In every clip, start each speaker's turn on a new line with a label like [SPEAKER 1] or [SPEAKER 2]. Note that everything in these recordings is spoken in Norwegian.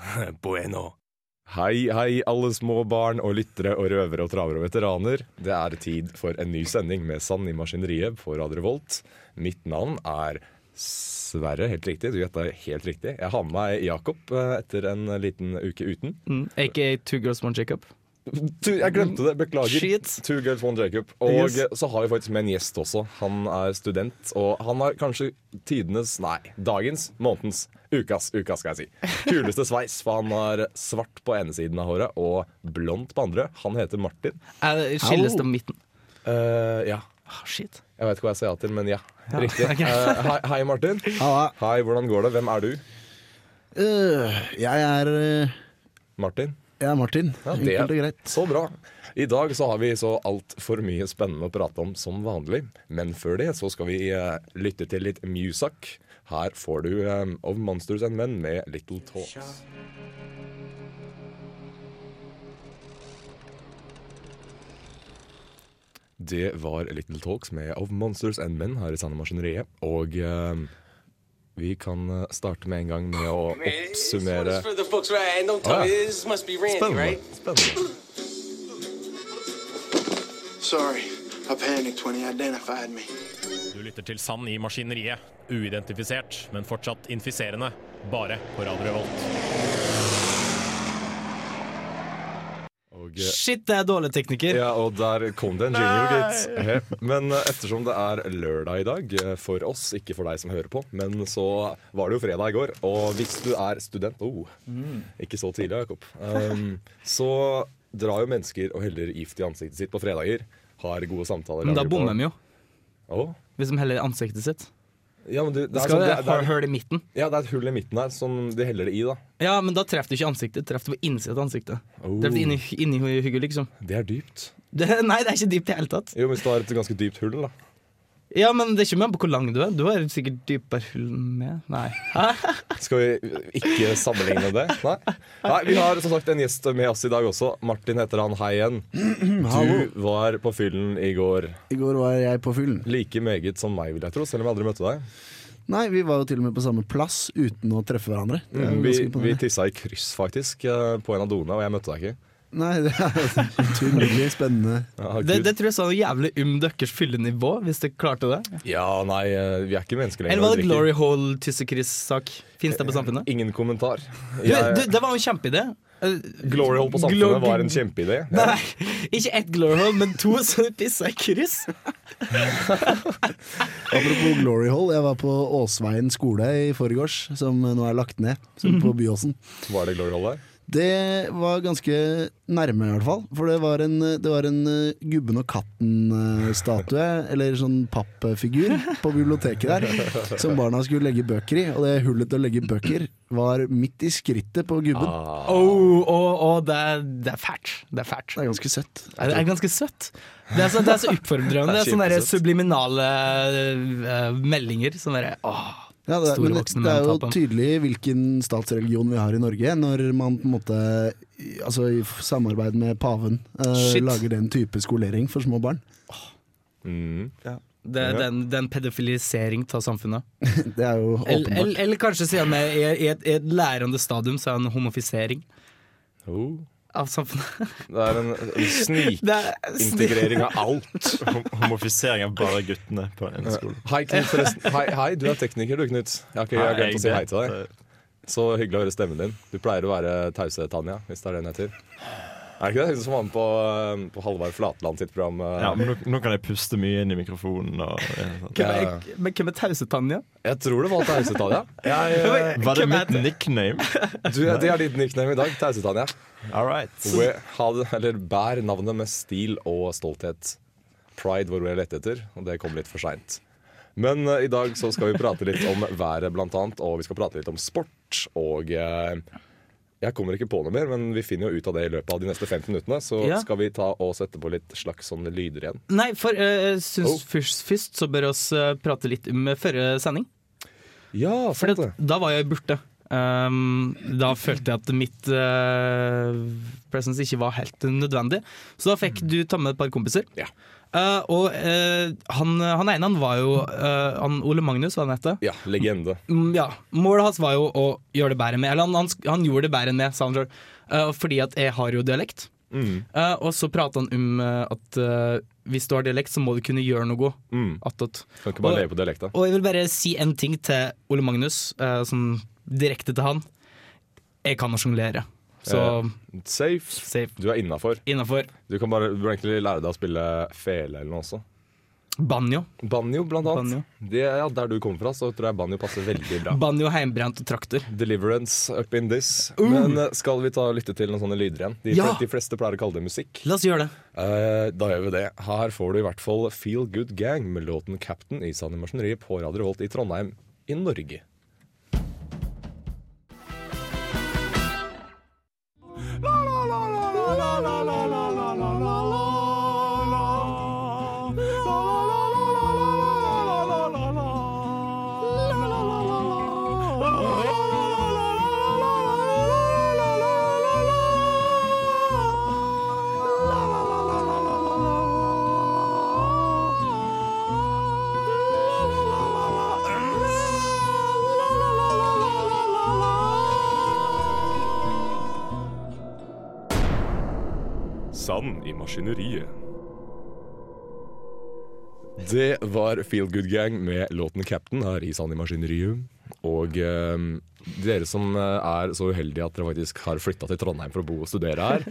[SPEAKER 1] Bueno.
[SPEAKER 2] Hei, hei, alle små barn og lyttere og røvere og travere og veteraner. Det er tid for en ny sending med Sand i maskineriet på Radio Revolt. Mitt navn er Sverre, helt riktig. Du gjetta helt riktig. Jeg har med meg Jakob eh, etter en liten uke uten.
[SPEAKER 3] Mm, Aka Two Girls One Jacob.
[SPEAKER 2] Tu- Jeg glemte det, beklager.
[SPEAKER 3] Shit.
[SPEAKER 2] Two girls, one Jacob. Og
[SPEAKER 3] Yes.
[SPEAKER 2] eh, så har vi faktisk med en gjest også. Han er student, og han har kanskje tidenes, nei, dagens, månedens, ukas, ukas skal jeg si, kuleste sveis. For han har svart på ene siden av håret og blondt på andre. Han heter Martin.
[SPEAKER 3] Eh, Skilles det midten?
[SPEAKER 2] Eh, ja.
[SPEAKER 3] Ah, shit.
[SPEAKER 2] Jeg vet ikke hva jeg sier ja til, men ja. Riktig. Eh, hei, hei, Martin.
[SPEAKER 4] Halla.
[SPEAKER 2] Hei, hvordan går det? Hvem er du?
[SPEAKER 4] Øh, jeg er øh,
[SPEAKER 2] Martin?
[SPEAKER 4] Jeg er Martin.
[SPEAKER 2] Ja, det
[SPEAKER 4] Enkelt og
[SPEAKER 2] er
[SPEAKER 4] greit.
[SPEAKER 2] så bra. I dag så har vi så altfor mye spennende å prate om som vanlig. Men før det så skal vi eh, lytte til litt musak. Her får du eh, Of Monsters and Men med Little Talks. Det var Little Talks med Of Monsters and Men her i Sande Maskineriet. Og eh, vi kan eh, starte med en gang med å oppsummere
[SPEAKER 5] for the books, right? Don't tell
[SPEAKER 2] Ah.
[SPEAKER 5] me this must be Randy,
[SPEAKER 2] Spennende.
[SPEAKER 5] right?
[SPEAKER 2] Spennende.
[SPEAKER 6] Sorry, I panicked when he identified me.
[SPEAKER 1] Du lytter til Sand i maskineriet. Uidentifisert, men fortsatt infiserende. Bare på Radio Revolt.
[SPEAKER 2] Og, eh,
[SPEAKER 3] Shit, det er dårlig tekniker.
[SPEAKER 2] Ja, og der kom det en jingle, gitt. Men eh, ettersom det er lørdag i dag, eh, for oss, ikke for deg som hører på, men så var det jo fredag i går, og hvis du er student oh, Ikke så tidlig, Jakob. Um, så drar jo mennesker og heller gift i ansiktet sitt på fredager. Har gode samtaler.
[SPEAKER 3] Men da bommer de jo,
[SPEAKER 2] Å?
[SPEAKER 3] hvis de heller ansiktet sitt.
[SPEAKER 2] Ja, men du, det,
[SPEAKER 3] Det
[SPEAKER 2] er
[SPEAKER 3] skal
[SPEAKER 2] sånn, det,
[SPEAKER 3] være
[SPEAKER 2] er- det, er,
[SPEAKER 3] hull i midten.
[SPEAKER 2] ja, det er et hull i midten her som de heller det i, da.
[SPEAKER 3] Ja, men da treffer du ikke ansiktet, treffer du på innsiden av ansiktet.
[SPEAKER 2] Oh.
[SPEAKER 3] Treffer du inni, inni hugget, liksom.
[SPEAKER 2] Det er dypt.
[SPEAKER 3] Det, nei, det er ikke dypt i det hele tatt.
[SPEAKER 2] Jo, men hvis du har et ganske dypt hull, da.
[SPEAKER 3] Ja, men det er ikke med på hvor lang du er. Du har sikkert dypere hull med Nei.
[SPEAKER 2] Skal vi ikke sammenligne det? Nei? Nei, Vi har som sagt en gjest med oss i dag også. Martin heter han. Hei igjen.
[SPEAKER 4] Hallo.
[SPEAKER 2] Du var på fyllen i går.
[SPEAKER 4] I går var jeg på fyllen.
[SPEAKER 2] Like meget som meg, vil jeg tro, selv om jeg aldri møtte deg.
[SPEAKER 4] Nei, vi var jo til og med på samme plass uten å treffe hverandre. Det er jo
[SPEAKER 2] Mm, Vi, vi
[SPEAKER 4] ganske imponerende.
[SPEAKER 2] tissa i kryss, faktisk, eh, på en av doene, og jeg møtte deg ikke.
[SPEAKER 4] Nei, det er utrolig spennende.
[SPEAKER 2] Ja,
[SPEAKER 3] Det,
[SPEAKER 2] Gud.
[SPEAKER 3] det tror jeg sa noe jævlig um døkkers fyllenivå, hvis dere klarte det.
[SPEAKER 2] ja nei, eh, vi er ikke mennesker lenger.
[SPEAKER 3] Eller
[SPEAKER 2] vi
[SPEAKER 3] var det
[SPEAKER 2] drikker.
[SPEAKER 3] Glory Hole-tissekryss-sak? Fins det på
[SPEAKER 2] Eh,
[SPEAKER 3] Samfunnet?
[SPEAKER 2] Ingen kommentar.
[SPEAKER 3] Men, du,
[SPEAKER 2] Jeg,
[SPEAKER 3] det var jo en kjempeidé. Eh,
[SPEAKER 2] Glory Hole på
[SPEAKER 3] Glo-
[SPEAKER 2] Samfunnet var en kjempeidé. Ja.
[SPEAKER 3] Nei, ikke ett glory hole, men to som pissa i kryss.
[SPEAKER 4] Apropos Glory Hall, jeg var på Åsveien skole i forgårs, som nå er lagt ned, som på Byåsen.
[SPEAKER 2] Var det Glory Hole der?
[SPEAKER 4] Det var ganske nærme, i hvert fall. For det var en, det var en eh, gubben og katten-statue, eller sånn pappfigur, på biblioteket der. Som barna skulle legge bøker i. Og det hullet til å legge bøker var midt i skrittet på gubben.
[SPEAKER 3] Åh, åh, åh, det, er- det er fælt. Det er fælt.
[SPEAKER 4] Det er ganske søtt.
[SPEAKER 3] Det er- det er ganske søtt. Det er så, det er så oppfordrende. Det er sånne der
[SPEAKER 2] kjempesøtt.
[SPEAKER 3] subliminale eh, meldinger. Sånn derre åh.
[SPEAKER 4] Ja, det,
[SPEAKER 3] Store
[SPEAKER 4] men det,
[SPEAKER 3] voksne
[SPEAKER 4] det er
[SPEAKER 3] menn
[SPEAKER 4] jo
[SPEAKER 3] taper.
[SPEAKER 4] tydelig hvilken statsreligion vi har i Norge, når man på en måte, i- altså i f- samarbeid med paven, eh,
[SPEAKER 3] Shit.
[SPEAKER 4] lager den type skolering for små barn.
[SPEAKER 3] Det, det, er en, det er en pedofilisering av samfunnet.
[SPEAKER 4] Det er jo åpenbart.
[SPEAKER 3] Eller, eller, eller kanskje siden vi er i i et, i et lærende stadium, så er det en homofisering
[SPEAKER 2] Oh.
[SPEAKER 3] av samfunnet.
[SPEAKER 2] Det er en
[SPEAKER 3] Det er
[SPEAKER 2] snikintegrering av alt.
[SPEAKER 7] Homofisering av bare guttene på en skole.
[SPEAKER 2] Hei, Knut, forresten. Hei, hei, du er tekniker, du, Knut. Jeg har ikke jeg har glemt å si hei til deg. Så hyggelig å høre stemmen din. Du pleier å være tause Tanja, hvis det er det hun heter. Er det ikke det? Hun som var med på, eh, på Halvard Flatland sitt program. eh.
[SPEAKER 7] Ja, men nå, nå kan jeg puste mye inn i mikrofonen. Og, ja, sånn.
[SPEAKER 3] Hvem er, men hvem er tause Tanja?
[SPEAKER 2] Jeg tror det var Tause Tanja. Jeg, eh,
[SPEAKER 7] Var det
[SPEAKER 3] Hvem er
[SPEAKER 7] mitt nickname?
[SPEAKER 2] du, det er ditt nickname i dag, Tause Tanja.
[SPEAKER 7] All right.
[SPEAKER 2] We- ha det- Eller bær navnet med stil og stolthet. Pride var ordet jeg lette etter, og det kom litt for seint. Men eh, i dag så skal vi prate litt om været, blant annet, og vi skal prate litt om sport. Og eh, Jeg kommer ikke på noe mer, men vi finner jo ut av det i løpet av de neste 15 minuttene. Så
[SPEAKER 3] Ja.
[SPEAKER 2] skal vi ta og sette på litt slags sånne lyder igjen.
[SPEAKER 3] Nei, for eh, jeg syns
[SPEAKER 2] Oh.
[SPEAKER 3] først, først så bør oss eh, prate litt om eh, førre sending.
[SPEAKER 2] Ja,
[SPEAKER 3] For
[SPEAKER 2] sant
[SPEAKER 3] det,
[SPEAKER 2] det.
[SPEAKER 3] da var jeg borte. Um, da følte jeg at mitt eh, presence ikke var helt nødvendig. Så da fikk du ta med et par kompiser.
[SPEAKER 2] Mm. Ja.
[SPEAKER 3] Eh, og eh, han, han ene han var jo eh, han, Ole Magnus, hva han heter.
[SPEAKER 2] Ja, legende.
[SPEAKER 3] Mm, ja. Målet hans var jo å gjøre det bedre med Eller han, han, sk- han gjorde det bedre enn meg, sa han sjøl. fordi at jeg har jo dialekt.
[SPEAKER 2] Mm.
[SPEAKER 3] Eh, og så prata han om eh, at eh, hvis du har dialekt, så må du kunne gjøre noe
[SPEAKER 2] Mm.
[SPEAKER 3] attåt.
[SPEAKER 2] Kan ikke bare
[SPEAKER 3] Og-
[SPEAKER 2] leve på dialekta.
[SPEAKER 3] Og jeg vil bare si en ting til Ole Magnus, eh, sånn direkte til han. Jeg kan å sjonglere, så
[SPEAKER 2] Safe.
[SPEAKER 3] safe
[SPEAKER 2] Du er innafor.
[SPEAKER 3] innafor.
[SPEAKER 2] Du kan bare du bør egentlig lære deg å spille fele eller noe også.
[SPEAKER 3] Banjo.
[SPEAKER 2] Banjo, blant
[SPEAKER 3] Banjo.
[SPEAKER 2] annet. Det, ja, der du kommer fra, så tror jeg banjo passer veldig bra.
[SPEAKER 3] Banjo, heimbrent og traktor.
[SPEAKER 2] Deliverance up in this. Men eh, skal vi ta og lytte til noen sånne lyder igjen? De,
[SPEAKER 3] Uh! Ja.
[SPEAKER 2] de fleste pleier å kalle det musikk.
[SPEAKER 3] La oss gjøre det.
[SPEAKER 2] Eh, da gjør vi det. Her får du i hvert fall Feel Good Gang med låten 'Captain' i Sanne Maskineriet på Radio Holt i Trondheim i Norge. Sand i maskineriet. Det var Feel Good Gang med låten 'Captain' her i Sand i maskineriet. Og eh, dere som eh, er så uheldige at dere faktisk har flytta til Trondheim for å bo og studere her,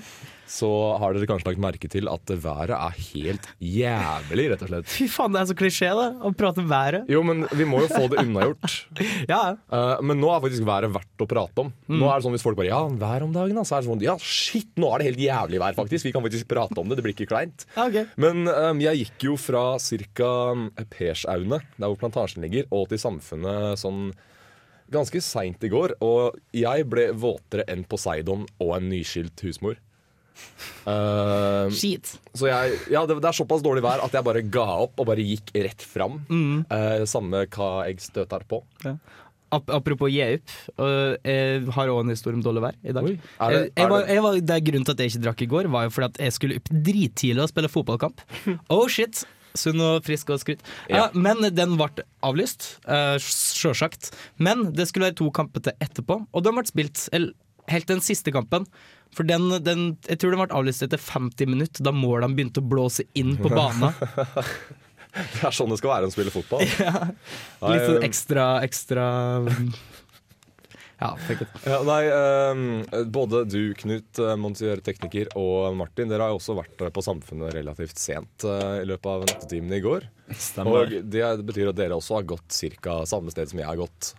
[SPEAKER 2] så har dere kanskje lagt merke til at været er helt jævlig, rett og slett.
[SPEAKER 3] Fy faen, det er så klisjé, det. Å prate om været.
[SPEAKER 2] Jo, men vi må jo få det unnagjort.
[SPEAKER 3] Ja,
[SPEAKER 2] Eh, men nå er faktisk været verdt å prate om.
[SPEAKER 3] Mm.
[SPEAKER 2] Nå er det sånn Hvis folk bare Ja, vær om dagen, da. Så er det sånn Ja, shit, nå er det helt jævlig vær, faktisk. Vi kan faktisk prate om det. Det blir ikke kleint.
[SPEAKER 3] ja, ok.
[SPEAKER 2] Men ehm, jeg gikk jo fra ca. Persaune, der hvor plantasjen ligger, og til Samfunnet sånn ganske seint i går. Og jeg ble våtere enn Poseidon og en nyskilt husmor. Ehm,
[SPEAKER 3] Skit.
[SPEAKER 2] så jeg, ja, det, det er såpass dårlig vær at jeg bare ga opp og bare gikk rett fram.
[SPEAKER 3] Mm.
[SPEAKER 2] Eh, samme hva jeg støter på.
[SPEAKER 3] Ap apropos Jeup, jeg eh, har òg en historie om dårlig vær i dag.
[SPEAKER 2] Oi, er det-
[SPEAKER 3] Jeg, jeg
[SPEAKER 2] er
[SPEAKER 3] var,
[SPEAKER 2] det-
[SPEAKER 3] jeg var, det er Grunnen til at jeg ikke drakk i går, var jo fordi at jeg skulle opp drittidlig og spille fotballkamp. Oh shit! Sunn og frisk og skrytt.
[SPEAKER 2] Ja.
[SPEAKER 3] Ja. men den ble avlyst, uh, sjølsagt. Men det skulle være to kamper til etterpå, og de ble spilt el- helt den siste kampen. For den, den, jeg tror den ble avlyst etter 50 minutter, da målene begynte å blåse inn på banen.
[SPEAKER 2] Det er sånn det skal være når man spiller fotball. Nei,
[SPEAKER 3] Litt sånn
[SPEAKER 2] eh,
[SPEAKER 3] ekstra, ekstra Ja, fuck it.
[SPEAKER 2] Ja, nei, eh, både du, Knut, eh, Monsieur tekniker, og Martin, dere har jo også vært eh, på Samfunnet relativt sent eh, i løpet av nattetimene i går. Og det betyr at dere også har gått ca. samme sted som jeg har gått.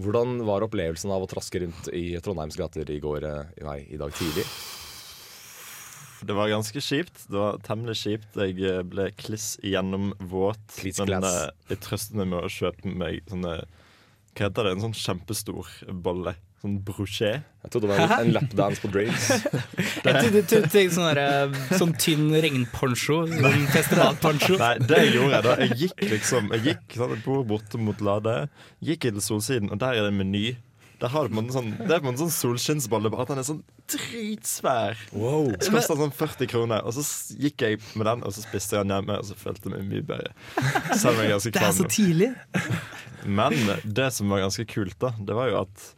[SPEAKER 2] Hvordan var opplevelsen av å traske rundt i Trondheims gater i går, eh, nei, i dag tidlig?
[SPEAKER 7] Det var ganske kjipt. Det var temmelig kjipt. Jeg eh, ble kliss igjennom våt.
[SPEAKER 2] Kliss
[SPEAKER 7] men
[SPEAKER 2] glass.
[SPEAKER 7] eh, jeg trøster meg med å kjøpe meg sånne Hva heter det? En sånn kjempestor bolle. Sånn brochet.
[SPEAKER 2] Jeg trodde det var en- en lapdance på Draves.
[SPEAKER 3] Jeg trodde du tenkte sånn, der, eh, sånn tynn regnponcho. Sånn festivalponcho.
[SPEAKER 7] Nei, det jeg gjorde da Jeg gikk liksom Jeg gikk sånn, jeg bor borte mot Lade Gikk inn til solsiden Og der er det en meny Der har du på en måte sånn Det er på en måte sånn solskinnsbolle Bare at den er sånn dritsvær
[SPEAKER 2] Wow.
[SPEAKER 7] Så kostet den sånn 40 kroner Og så s- gikk jeg med den Og så spiste jeg den hjemme Og så følte jeg meg mye bedre Selv om jeg er ganske
[SPEAKER 3] Det er så
[SPEAKER 7] kvalm.
[SPEAKER 3] tidlig.
[SPEAKER 7] Men det som var ganske kult da Det var jo at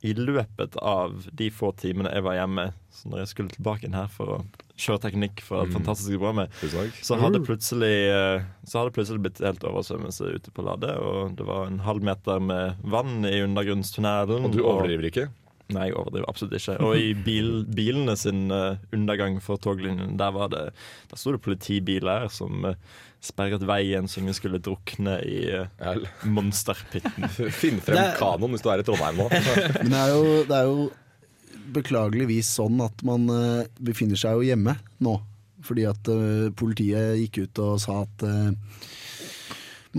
[SPEAKER 7] I løpet av de få timene jeg var hjemme Så når jeg skulle tilbake inn her For å kjøre teknikk for det fantastiske programmet
[SPEAKER 2] Mm. Tusen takk.
[SPEAKER 7] så hadde plutselig eh, Så hadde plutselig blitt helt oversvømmelse ute på Lade, og det var en halv meter med vann i undergrunnstunnelen.
[SPEAKER 2] Og du overdriver ikke?
[SPEAKER 7] Nei, jeg overdriver absolutt ikke. Og i bil, bilene sin eh, undergang for toglinjen, der var det Der sto det politibiler som eh, sperret veien som vi skulle drukne i uh,
[SPEAKER 2] Jeg-
[SPEAKER 7] monsterpitten.
[SPEAKER 2] Finn frem
[SPEAKER 3] Det er-
[SPEAKER 2] kanoen hvis du er i Trondheim nå.
[SPEAKER 4] Men det er jo, det er jo beklageligvis sånn at man eh, befinner seg jo hjemme nå. Fordi at eh, politiet gikk ut og sa at eh,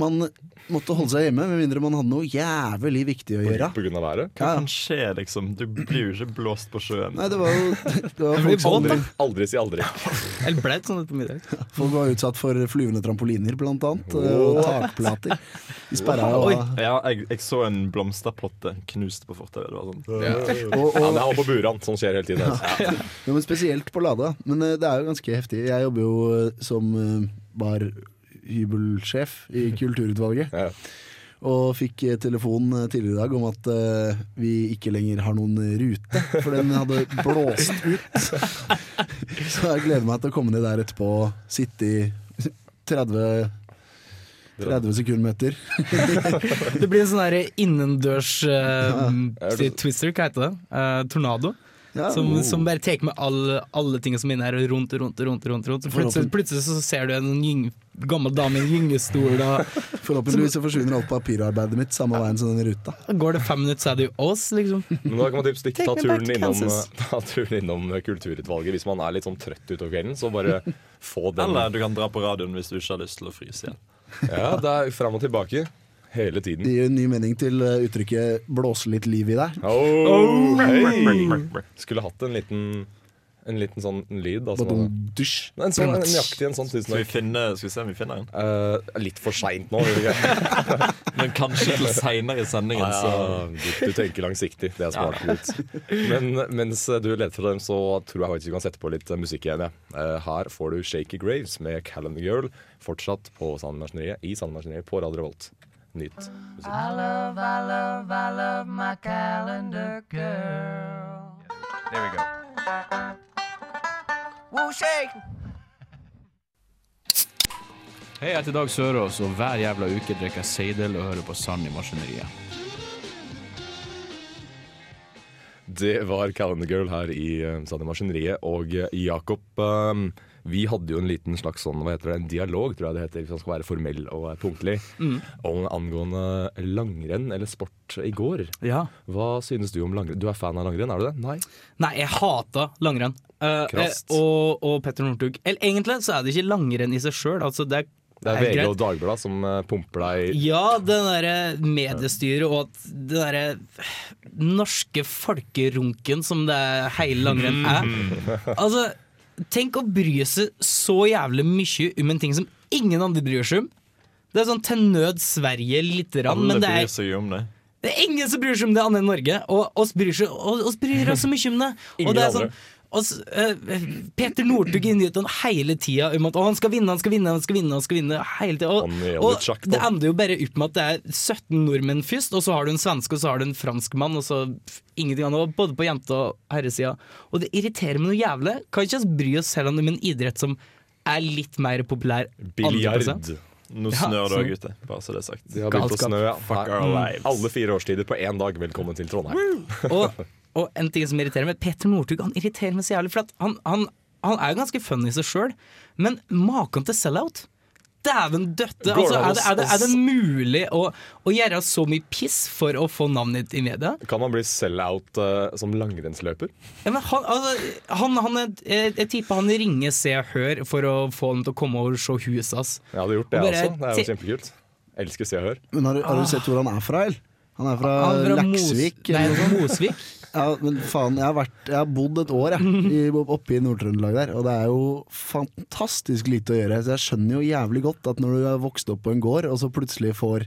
[SPEAKER 4] Man måtte holde seg hjemme med mindre man hadde noe jævlig viktig å gjøre.
[SPEAKER 2] På grunn av været.
[SPEAKER 4] Ja.
[SPEAKER 7] Hva kan skje, liksom? Du blir jo ikke blåst på sjøen.
[SPEAKER 4] Nei, det var jo det var
[SPEAKER 3] blir
[SPEAKER 4] folk,
[SPEAKER 3] båt,
[SPEAKER 4] som
[SPEAKER 3] da.
[SPEAKER 4] aldri,
[SPEAKER 2] Aldri, aldri si aldri.
[SPEAKER 3] Eller blaut sånn på middag.
[SPEAKER 4] folk var utsatt for flyvende trampoliner, blant annet. Og takplater. De sperra
[SPEAKER 3] Oi.
[SPEAKER 4] og,
[SPEAKER 7] Ja, jeg, jeg så en blomsterpotte knust på fortauet. Det var sånn.
[SPEAKER 2] Ja. Ja,
[SPEAKER 4] og, og
[SPEAKER 2] det er han på Buran. Sånn skjer hele tiden. altså.
[SPEAKER 4] Jo, men spesielt på Lada. Men eh, det er jo ganske heftig. Jeg jobber jo eh, som eh, barhybelsjef i Kulturutvalget.
[SPEAKER 2] Ja.
[SPEAKER 4] Og fikk eh, telefon eh, tidligere i dag om at eh, vi ikke lenger har noen eh, rute, for den hadde blåst ut. Så jeg gleder meg til å komme ned der etterpå og sitte i 30 30 sekundmeter.
[SPEAKER 3] Det blir en sånn der innendørs eh,
[SPEAKER 2] Er det-
[SPEAKER 3] twister, hva heter det? Eh, tornado.
[SPEAKER 4] Ja, Oh.
[SPEAKER 3] Som, som bare tar med alle, alle tingene som er inne her, og rundt rundt rundt. rundt, rundt. Så Plutselig, plutselig så ser du en sånn gyng, gammel dame i en gyngestol, og
[SPEAKER 4] Forhåpentligvis så forsvinner alt papirarbeidet mitt samme veien som den ruta.
[SPEAKER 3] går det fem minutter, så er det jo oss, liksom.
[SPEAKER 2] Men da kan man typ stikke, ta,
[SPEAKER 3] Take me back
[SPEAKER 2] turen
[SPEAKER 3] to
[SPEAKER 2] innom,
[SPEAKER 3] Kansas.
[SPEAKER 2] ta turen innom Kulturutvalget hvis man er litt sånn trøtt utover kvelden. Så bare få den.
[SPEAKER 7] Eller du kan dra på radioen hvis du ikke har lyst til å fryse igjen.
[SPEAKER 2] Ja, det er fram og tilbake hele
[SPEAKER 4] Det
[SPEAKER 2] tiden.
[SPEAKER 4] gir jo en ny mening til eh, uttrykket 'blåse litt liv i deg'.
[SPEAKER 2] Oh, hei. Skulle hatt en liten, en liten sånn lyd. Da, som
[SPEAKER 4] Badum,
[SPEAKER 2] hadde-
[SPEAKER 4] dusj.
[SPEAKER 2] Nei, en sånn, en, nøyaktig en sånn tusen
[SPEAKER 7] Skal vi,
[SPEAKER 2] takk.
[SPEAKER 7] finne, skal vi se om vi finner en?
[SPEAKER 2] Eh, litt for seint nå. gjør vi ikke?
[SPEAKER 7] Men kanskje til seinere i sendingen.
[SPEAKER 2] Så du, du tenker langsiktig. Det er smart. Knut. Men mens du leter for dem, så tror jeg faktisk vi kan sette på litt eh, musikk igjen. Ja. Eh, Her får du Shaky Graves med Calendar Girl, fortsatt på Sandmaskineriet i Sandmaskineriet på Radio Revolt. Nytt.
[SPEAKER 8] Hei, jeg heter Dag Sørås, og hver jævla uke drikker jeg seidel og hører på Sand i maskineriet.
[SPEAKER 2] Det var Calendar Girl her i eh, Sand i Maskineriet. Og eh, Jakob, eh, vi hadde jo en liten slags sånn, hva heter det, en dialog, tror jeg det heter, hvis man skal være formell og eh, punktlig, om angående langrenn eller sport i går.
[SPEAKER 3] Ja.
[SPEAKER 2] Hva synes du om langrenn? Du er fan av langrenn, er du det? Nei?
[SPEAKER 3] Nei, jeg hata langrenn. Eh,
[SPEAKER 2] Krast.
[SPEAKER 3] eh, og, og Petter Northug. Eller egentlig så er det ikke langrenn i seg sjøl. Altså, det er,
[SPEAKER 2] Det er
[SPEAKER 3] er
[SPEAKER 2] VG
[SPEAKER 3] greit.
[SPEAKER 2] og Dagbladet som eh, pumper deg
[SPEAKER 3] Ja, det derre mediestyret og at det derre norske folkerunken som det er hele langrenn er.
[SPEAKER 2] Mm.
[SPEAKER 3] Altså, tenk å bry seg så jævlig mye om en ting som ingen andre bryr seg om. Det er sånn til nød Sverige lite grann,
[SPEAKER 7] Alle
[SPEAKER 3] men det
[SPEAKER 7] bryr
[SPEAKER 3] er,
[SPEAKER 7] seg jo om det.
[SPEAKER 3] det er ingen som bryr seg om det annet enn Norge. Og oss bryr, seg, og, oss bryr oss så mye om det.
[SPEAKER 2] Ingen
[SPEAKER 3] Og det er
[SPEAKER 2] andre.
[SPEAKER 3] sånn oss, eh, Peter Northug i nyhetene hele tida om at å, han skal vinne, han skal vinne, han skal vinne. han skal vinne hele tida. Og,
[SPEAKER 2] Han er jo litt sjakk
[SPEAKER 3] og
[SPEAKER 2] på.
[SPEAKER 3] det ender jo bare ut med at det er 17 nordmenn først, og så har du en svenske, og så har du en franskmann, og så f- ingenting annet. Både på jente- og herresida. Og det irriterer meg noe jævlig. Kan ikke oss bry oss selv om en idrett som er litt mer populær. andre plasser?
[SPEAKER 2] biljard.
[SPEAKER 7] Nå
[SPEAKER 3] Ja, sånn.
[SPEAKER 7] snør det
[SPEAKER 3] så-
[SPEAKER 7] òg ute, bare så det er sagt.
[SPEAKER 2] De har begynt å
[SPEAKER 3] Galskap.
[SPEAKER 2] snø. ja.
[SPEAKER 7] Fuck
[SPEAKER 2] Her-
[SPEAKER 7] our lives.
[SPEAKER 2] Alle fire årstider på én dag. Velkommen til Trondheim.
[SPEAKER 3] Og, og en ting som irriterer meg Peter Northug han irriterer meg så jævlig For at han, han, han er jo ganske funny i seg selv Men maken til sellout Dæven døtte
[SPEAKER 2] Går
[SPEAKER 3] altså,
[SPEAKER 2] det an å
[SPEAKER 3] er, det, er, det, er det
[SPEAKER 2] s-
[SPEAKER 3] mulig å, å gjøre så mye piss For å få navnet ditt i media?
[SPEAKER 2] Kan man bli sell-out eh, som langrennsløper?
[SPEAKER 3] Ja, men han, altså, han, han er, jeg, jeg tipper han ringer Se og Hør For å få dem til å komme over og se huset hans
[SPEAKER 2] Jeg hadde gjort det, jeg
[SPEAKER 3] Og bare
[SPEAKER 2] også. Det er jo
[SPEAKER 3] ti-
[SPEAKER 2] kjempekult. Elsker Se og Hør.
[SPEAKER 4] Men har, du- har du sett hvor han er fra, eller? Han er fra,
[SPEAKER 3] Han er fra Mos-
[SPEAKER 4] Leksvik.
[SPEAKER 3] Nei,
[SPEAKER 4] eller noe sånt.
[SPEAKER 3] Mosvik
[SPEAKER 4] Ja, men faen, jeg har, vært, jeg har bodd et år jeg, i, oppe i Nord-Trøndelag der, og det er jo fantastisk lite å gjøre. Så jeg skjønner jo jævlig godt at når du er vokst opp på en gård, og så plutselig får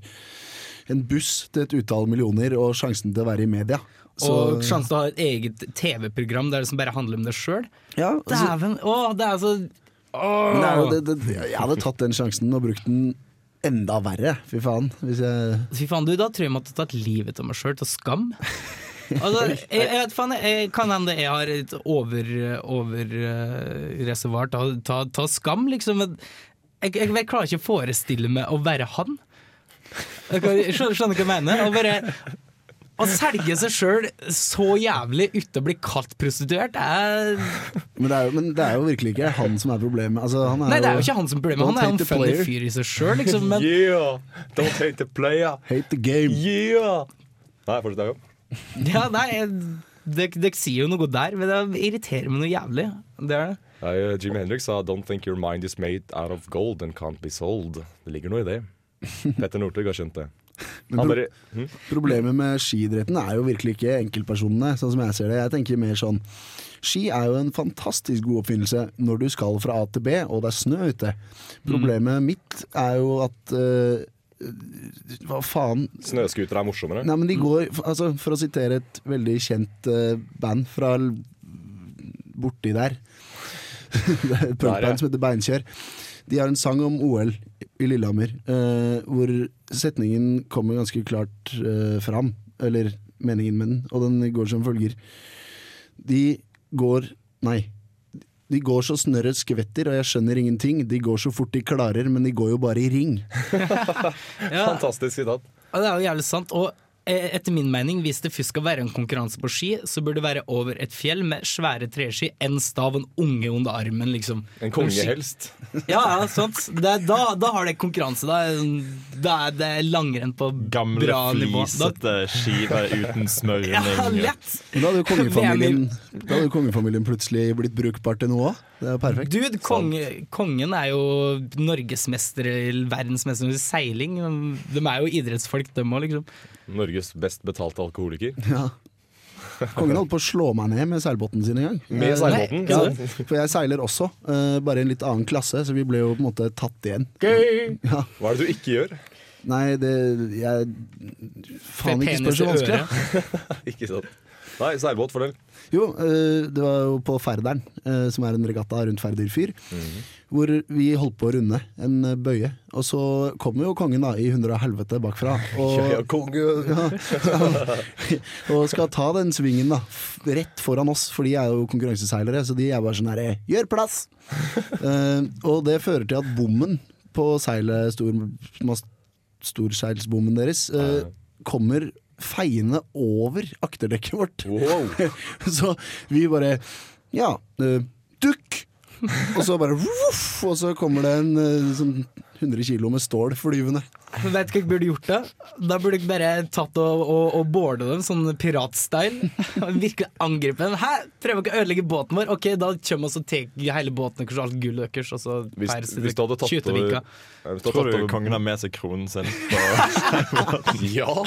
[SPEAKER 4] en buss til et utall millioner og sjansen til å være i media så,
[SPEAKER 3] Og sjansen til å ha et eget TV-program Der det som bare handler om det selv
[SPEAKER 4] ja, altså,
[SPEAKER 3] Dæven, åh, det er så
[SPEAKER 4] men det er jo, det, det, Jeg hadde tatt den sjansen og brukt den enda verre, fy faen. Hvis jeg
[SPEAKER 3] Fy faen, du, da tror jeg jeg måtte tatt livet av meg sjøl, til skam. Altså, jeg, jeg vet faen, jeg, Kan hende jeg har et over, over eh, reservoar ta, ta, ta skam, liksom. Men jeg, jeg, jeg klarer ikke å forestille meg å være han. Jeg kan- jeg skjønner, skjønner hva jeg mener. Å bare å selge seg sjøl så jævlig uten å bli kalt prostituert, er
[SPEAKER 4] Men det, er jo, men det er jo virkelig ikke han som er problemet. Altså, han er
[SPEAKER 3] Nei, det er
[SPEAKER 4] jo
[SPEAKER 3] jo ikke han som er problemet. Han er jo en funny fyr i seg sjøl, liksom. Men
[SPEAKER 2] Yeah! Don't hate the player.
[SPEAKER 4] Hate the game.
[SPEAKER 2] Yeah! Nei, fortsett, Jakob.
[SPEAKER 3] ja, nei, jeg- dere dere sier jo noe der, men det irriterer meg noe jævlig. Det er det.
[SPEAKER 2] eh, Nei, Jimi Hendrix sa 'Don't think your mind is made out of gold and can't be sold'. Det ligger noe i det. Petter Northug har skjønt det.
[SPEAKER 4] Men
[SPEAKER 2] Han
[SPEAKER 4] pro-
[SPEAKER 2] bare, hm?
[SPEAKER 4] Problemet med skidretten er jo virkelig ikke enkeltpersonene, sånn som jeg ser det. Jeg tenker mer sånn Ski er jo en fantastisk god oppfinnelse når du skal fra A til B og det er snø ute.
[SPEAKER 3] Mm.
[SPEAKER 4] Problemet mitt er jo at øh, Hva faen?
[SPEAKER 2] Snøscooter er morsommere.
[SPEAKER 4] Nei, men de går altså, For å sitere et veldig kjent øh, band fra l- borti der Det er
[SPEAKER 2] Der, ja.
[SPEAKER 4] et punkband som heter Beinkjør. De har en sang om OL i Lillehammer, eh, hvor setningen kommer ganske klart eh, fram. Eller meningen med den, og den går som følger. De går Nei. De går så snørret skvetter, og jeg skjønner ingenting. De går så fort de klarer, men de går jo bare i ring.
[SPEAKER 3] Ja,
[SPEAKER 2] Fantastisk sitat.
[SPEAKER 3] Ja, det er jo jævlig sant. Og eh, etter min mening, hvis det først skal være en konkurranse på ski, så burde det være over et fjell med svære treski, en stav, en unge under armen, liksom.
[SPEAKER 2] En konge
[SPEAKER 3] Ski-
[SPEAKER 2] helst.
[SPEAKER 3] Ja, ja, sant. Det er, da, da har det konkurranse. Da er, da er det langrenn på
[SPEAKER 7] Gamle,
[SPEAKER 3] bra nivå. Da,
[SPEAKER 7] flisete skiver eh, uten smøring.
[SPEAKER 3] ja, lett!
[SPEAKER 4] Men da hadde jo kongefamilien, da hadde jo kongefamilien plutselig blitt brukbart til noe òg. Det er jo perfekt.
[SPEAKER 3] Dude, konge, kongen er jo norgesmester, eller verdensmester i seiling. De er jo idrettsfolk, dem òg, liksom.
[SPEAKER 2] Norges best betalte alkoholiker.
[SPEAKER 4] Ja. Kongen holdt på å slå meg ned med seilbåten sin en gang.
[SPEAKER 2] Med
[SPEAKER 4] Eh,
[SPEAKER 2] seilbåten?
[SPEAKER 4] Ja, for jeg seiler også, eh, bare i en litt annen klasse, så vi ble jo på en måte tatt igjen. Ja.
[SPEAKER 2] Hva er det du ikke gjør?
[SPEAKER 4] Nei, det jeg Faen, ikke spør
[SPEAKER 3] Penis i
[SPEAKER 4] så vanskelig.
[SPEAKER 3] øret.
[SPEAKER 2] Ikke sant. Nei, seilbåt, fortell.
[SPEAKER 4] Jo, eh, det var jo på Færderen, eh, som er en regatta rundt Færder fyr,
[SPEAKER 2] Mhm.
[SPEAKER 4] hvor vi holdt på å runde en eh, bøye. Og så kom jo kongen da i hundre og helvete bakfra.
[SPEAKER 2] Ja,
[SPEAKER 4] Og, ja, og skal ta den svingen da f- rett foran oss, for de er jo konkurranseseilere. Så de er bare sånn herre, gjør plass! Eh, og det fører til at bommen på seilet, stor, mas- storseilsbommen deres, eh, kommer feiende over akterdekket vårt.
[SPEAKER 2] Wow.
[SPEAKER 4] Så vi bare Ja, eh, dukk! Og så bare voff, og så kommer det en eh, sånn 100 kilo med stål flyvende.
[SPEAKER 3] Men Vet du hva jeg burde gjort da? Da burde jeg bare tatt og, og, og boarda dem sånn piratstyle. Og Virkelig angripe dem. Hæ? Prøver ikke å ødelegge båten vår? Ok, da kommer vi og tar hele båten deres og alt gullet deres, og så
[SPEAKER 2] Hvis,
[SPEAKER 3] feirer vi
[SPEAKER 2] hvis du hadde tatt
[SPEAKER 3] skyter vi
[SPEAKER 2] over,
[SPEAKER 3] ikke.
[SPEAKER 2] Ja, hvis du hadde
[SPEAKER 7] Tror
[SPEAKER 2] tatt
[SPEAKER 7] du
[SPEAKER 2] over
[SPEAKER 7] kongen har med seg kronen sin? På,
[SPEAKER 2] Ja!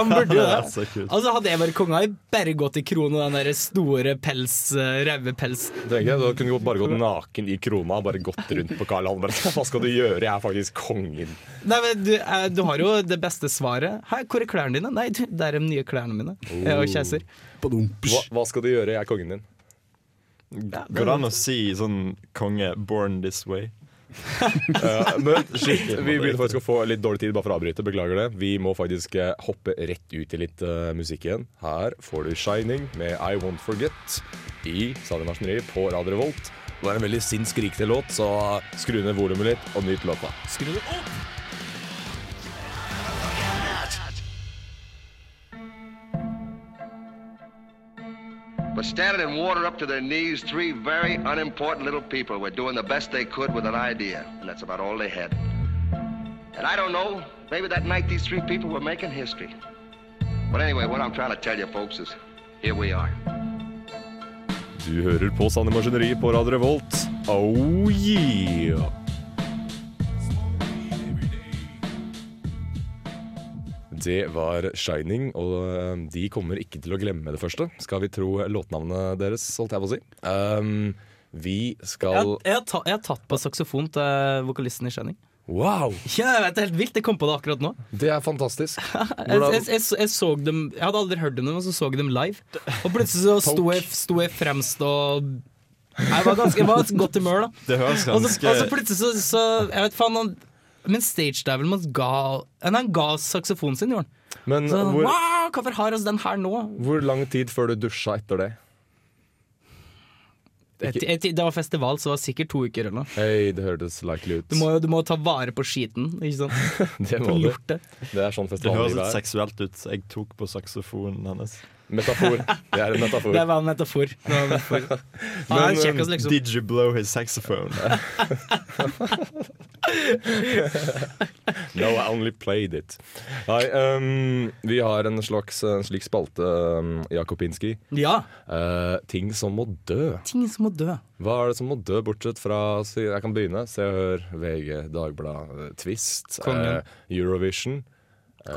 [SPEAKER 3] Han burde jo
[SPEAKER 7] det er
[SPEAKER 3] det.
[SPEAKER 7] så kult.
[SPEAKER 3] Altså Hadde jeg vært konge, hadde jeg bare gått i kronen og den der store pels, eh, raue pels.
[SPEAKER 2] Tenker jeg, Da kunne du bare gått naken i krona og bare gått rundt på Karl Johan. Hva skal du gjøre? Jeg er faktisk kongen.
[SPEAKER 3] Nei, men du, eh, du har jo det beste svaret. Hæ, hvor er klærne dine? Nei, du, det er de nye klærne mine. Jeg er jo keiser.
[SPEAKER 2] Hva, hva skal du gjøre? Jeg er kongen din.
[SPEAKER 3] er
[SPEAKER 7] går det an å si sånn konge 'born this way'?
[SPEAKER 2] Eh, men shit, vi begynner faktisk å få litt dårlig tid, bare for å avbryte. Beklager det. Vi må faktisk eh, hoppe rett ut i litt eh, musikk igjen. Her får du 'Shining' med 'I Won't Forget' i Stadion Maskineri på Radio Revolt. Det er en veldig sint, skrikete låt, så skru ned volumet litt og nyt låta.
[SPEAKER 9] But standing in water up to their knees, three very unimportant little people were doing the best they could with an idea, and that's about all they had. And I don't know, maybe that night these three people were making history. But anyway, what I'm trying to tell you folks is here we are.
[SPEAKER 2] Du hører på Sanne Maskineri på Radio Revolt. Oh yeah! Det var Shining, og eh, de kommer ikke til å glemme det første. Skal vi tro låtnavnet deres, holdt jeg på å si. Ehm, vi
[SPEAKER 3] Jeg,
[SPEAKER 2] skal
[SPEAKER 3] jeg, har ta, jeg har tatt på saksofon til vokalisten i Skjenning.
[SPEAKER 2] Wow!
[SPEAKER 3] Ja, jeg vet, det er helt vilt. Jeg kom på det akkurat nå.
[SPEAKER 2] Det er fantastisk.
[SPEAKER 3] Jeg,
[SPEAKER 2] Hvordan-
[SPEAKER 3] jeg, jeg, så- jeg, så dem, jeg hadde aldri hørt om dem, og så så jeg dem live. Og plutselig så sto jeg, sto jeg fremst og Jeg var ganske jeg var i godt humør, da.
[SPEAKER 7] Det høres
[SPEAKER 3] Og så, og så
[SPEAKER 7] ganske
[SPEAKER 3] plutselig så, så Jeg vet faen han, Men stage-divelen hans ga nei, Han ga saksofonen sin, gjorde han.
[SPEAKER 2] Men
[SPEAKER 3] Så,
[SPEAKER 2] hvor,
[SPEAKER 3] wow, hvorfor har oss den her nå?
[SPEAKER 2] hvor lang tid før du dusja etter det?
[SPEAKER 3] Jeg, jeg, det var festival, så det var sikkert to uker eller noe.
[SPEAKER 2] Hei, det hørtes likely ut.
[SPEAKER 3] Du må, jo- du må ta vare på skiten, ikke sant.
[SPEAKER 2] det, må
[SPEAKER 3] Du har
[SPEAKER 2] du.
[SPEAKER 3] gjort det.
[SPEAKER 2] det er sånn
[SPEAKER 7] Det høres litt
[SPEAKER 2] festivallivet er.
[SPEAKER 7] seksuelt ut. så Jeg tok på saksofonen hennes.
[SPEAKER 2] Metafor. Det er en metafor.
[SPEAKER 3] Det var en metafor. Det var en metafor. Han er
[SPEAKER 7] Men,
[SPEAKER 4] liksom-
[SPEAKER 3] kjekk, altså,
[SPEAKER 7] um,
[SPEAKER 3] liksom.
[SPEAKER 7] Did you blow his saxophone?
[SPEAKER 2] No, I only played it. Nei, ehm, vi har en slags en slik spalte, um, Jakobinski.
[SPEAKER 3] Ja.
[SPEAKER 2] Eh, ting som må dø.
[SPEAKER 3] Ting som må dø.
[SPEAKER 2] Hva er det som må dø, bortsett fra si- Jeg kan begynne. Se og Hør, VG, Dagbladet, eh, Twist, eh,
[SPEAKER 3] Kongen.
[SPEAKER 2] Eurovision. eh,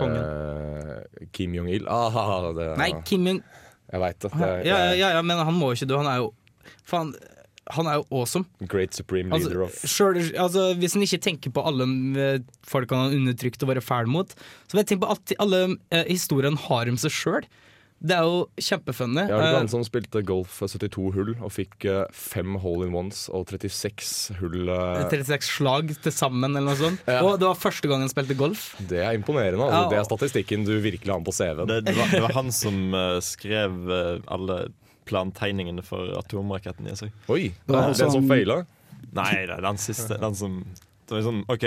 [SPEAKER 2] Kim Jong-il. Ah, det,
[SPEAKER 3] Nei, Kim Jong
[SPEAKER 2] Jeg veit det.
[SPEAKER 3] ja,
[SPEAKER 2] det
[SPEAKER 3] ja,
[SPEAKER 2] er
[SPEAKER 3] ja, ja, men han må jo ikke dø. Han er jo Faen, han er jo awesome.
[SPEAKER 2] Great supreme leader
[SPEAKER 3] Altså,
[SPEAKER 2] of
[SPEAKER 3] selv, altså, hvis en ikke tenker på alle eh, folk han har undertrykt og vært fæl mot, så vil jeg tenke på alt, alle eh, historiene han har om seg sjøl. Det er jo kjempefunny.
[SPEAKER 2] Ja, det sånn, var
[SPEAKER 3] Eh,
[SPEAKER 2] han som spilte golf 72 hull og fikk eh, fem hole in ones og 36 hull. eh,
[SPEAKER 3] 36 slag til sammen, eller noe sånt. Og det var første gang han spilte golf.
[SPEAKER 2] Det er imponerende. Altså.
[SPEAKER 3] Ja.
[SPEAKER 2] Det er statistikken du virkelig har med på CV-en.
[SPEAKER 7] Det, det, var, det var han som eh, skrev eh, alle plantegningene for atomraketten i seg.
[SPEAKER 2] Oi!
[SPEAKER 4] var
[SPEAKER 2] Den
[SPEAKER 3] sånn-
[SPEAKER 4] altså
[SPEAKER 2] som
[SPEAKER 4] han-
[SPEAKER 2] feila.
[SPEAKER 7] Nei, det er den siste. Den som det var sånn, OK,